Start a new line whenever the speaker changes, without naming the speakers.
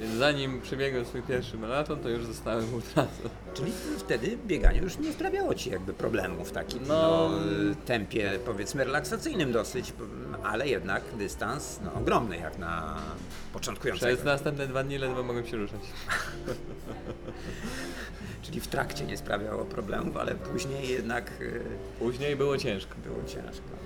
Więc zanim przebiegłem swój pierwszy maraton, to już zostałem ultrasem.
Czyli wtedy bieganie już nie sprawiało ci jakby problemów w takim
No.
no, y, tempie powiedzmy relaksacyjnym dosyć, p- ale jednak dystans no, ogromny jak na
Przez
początkującego.
następne dwa dni ledwo mogłem się ruszać.
Czyli w trakcie nie sprawiało problemów, ale później jednak y,
Później było ciężko.
było ciężko.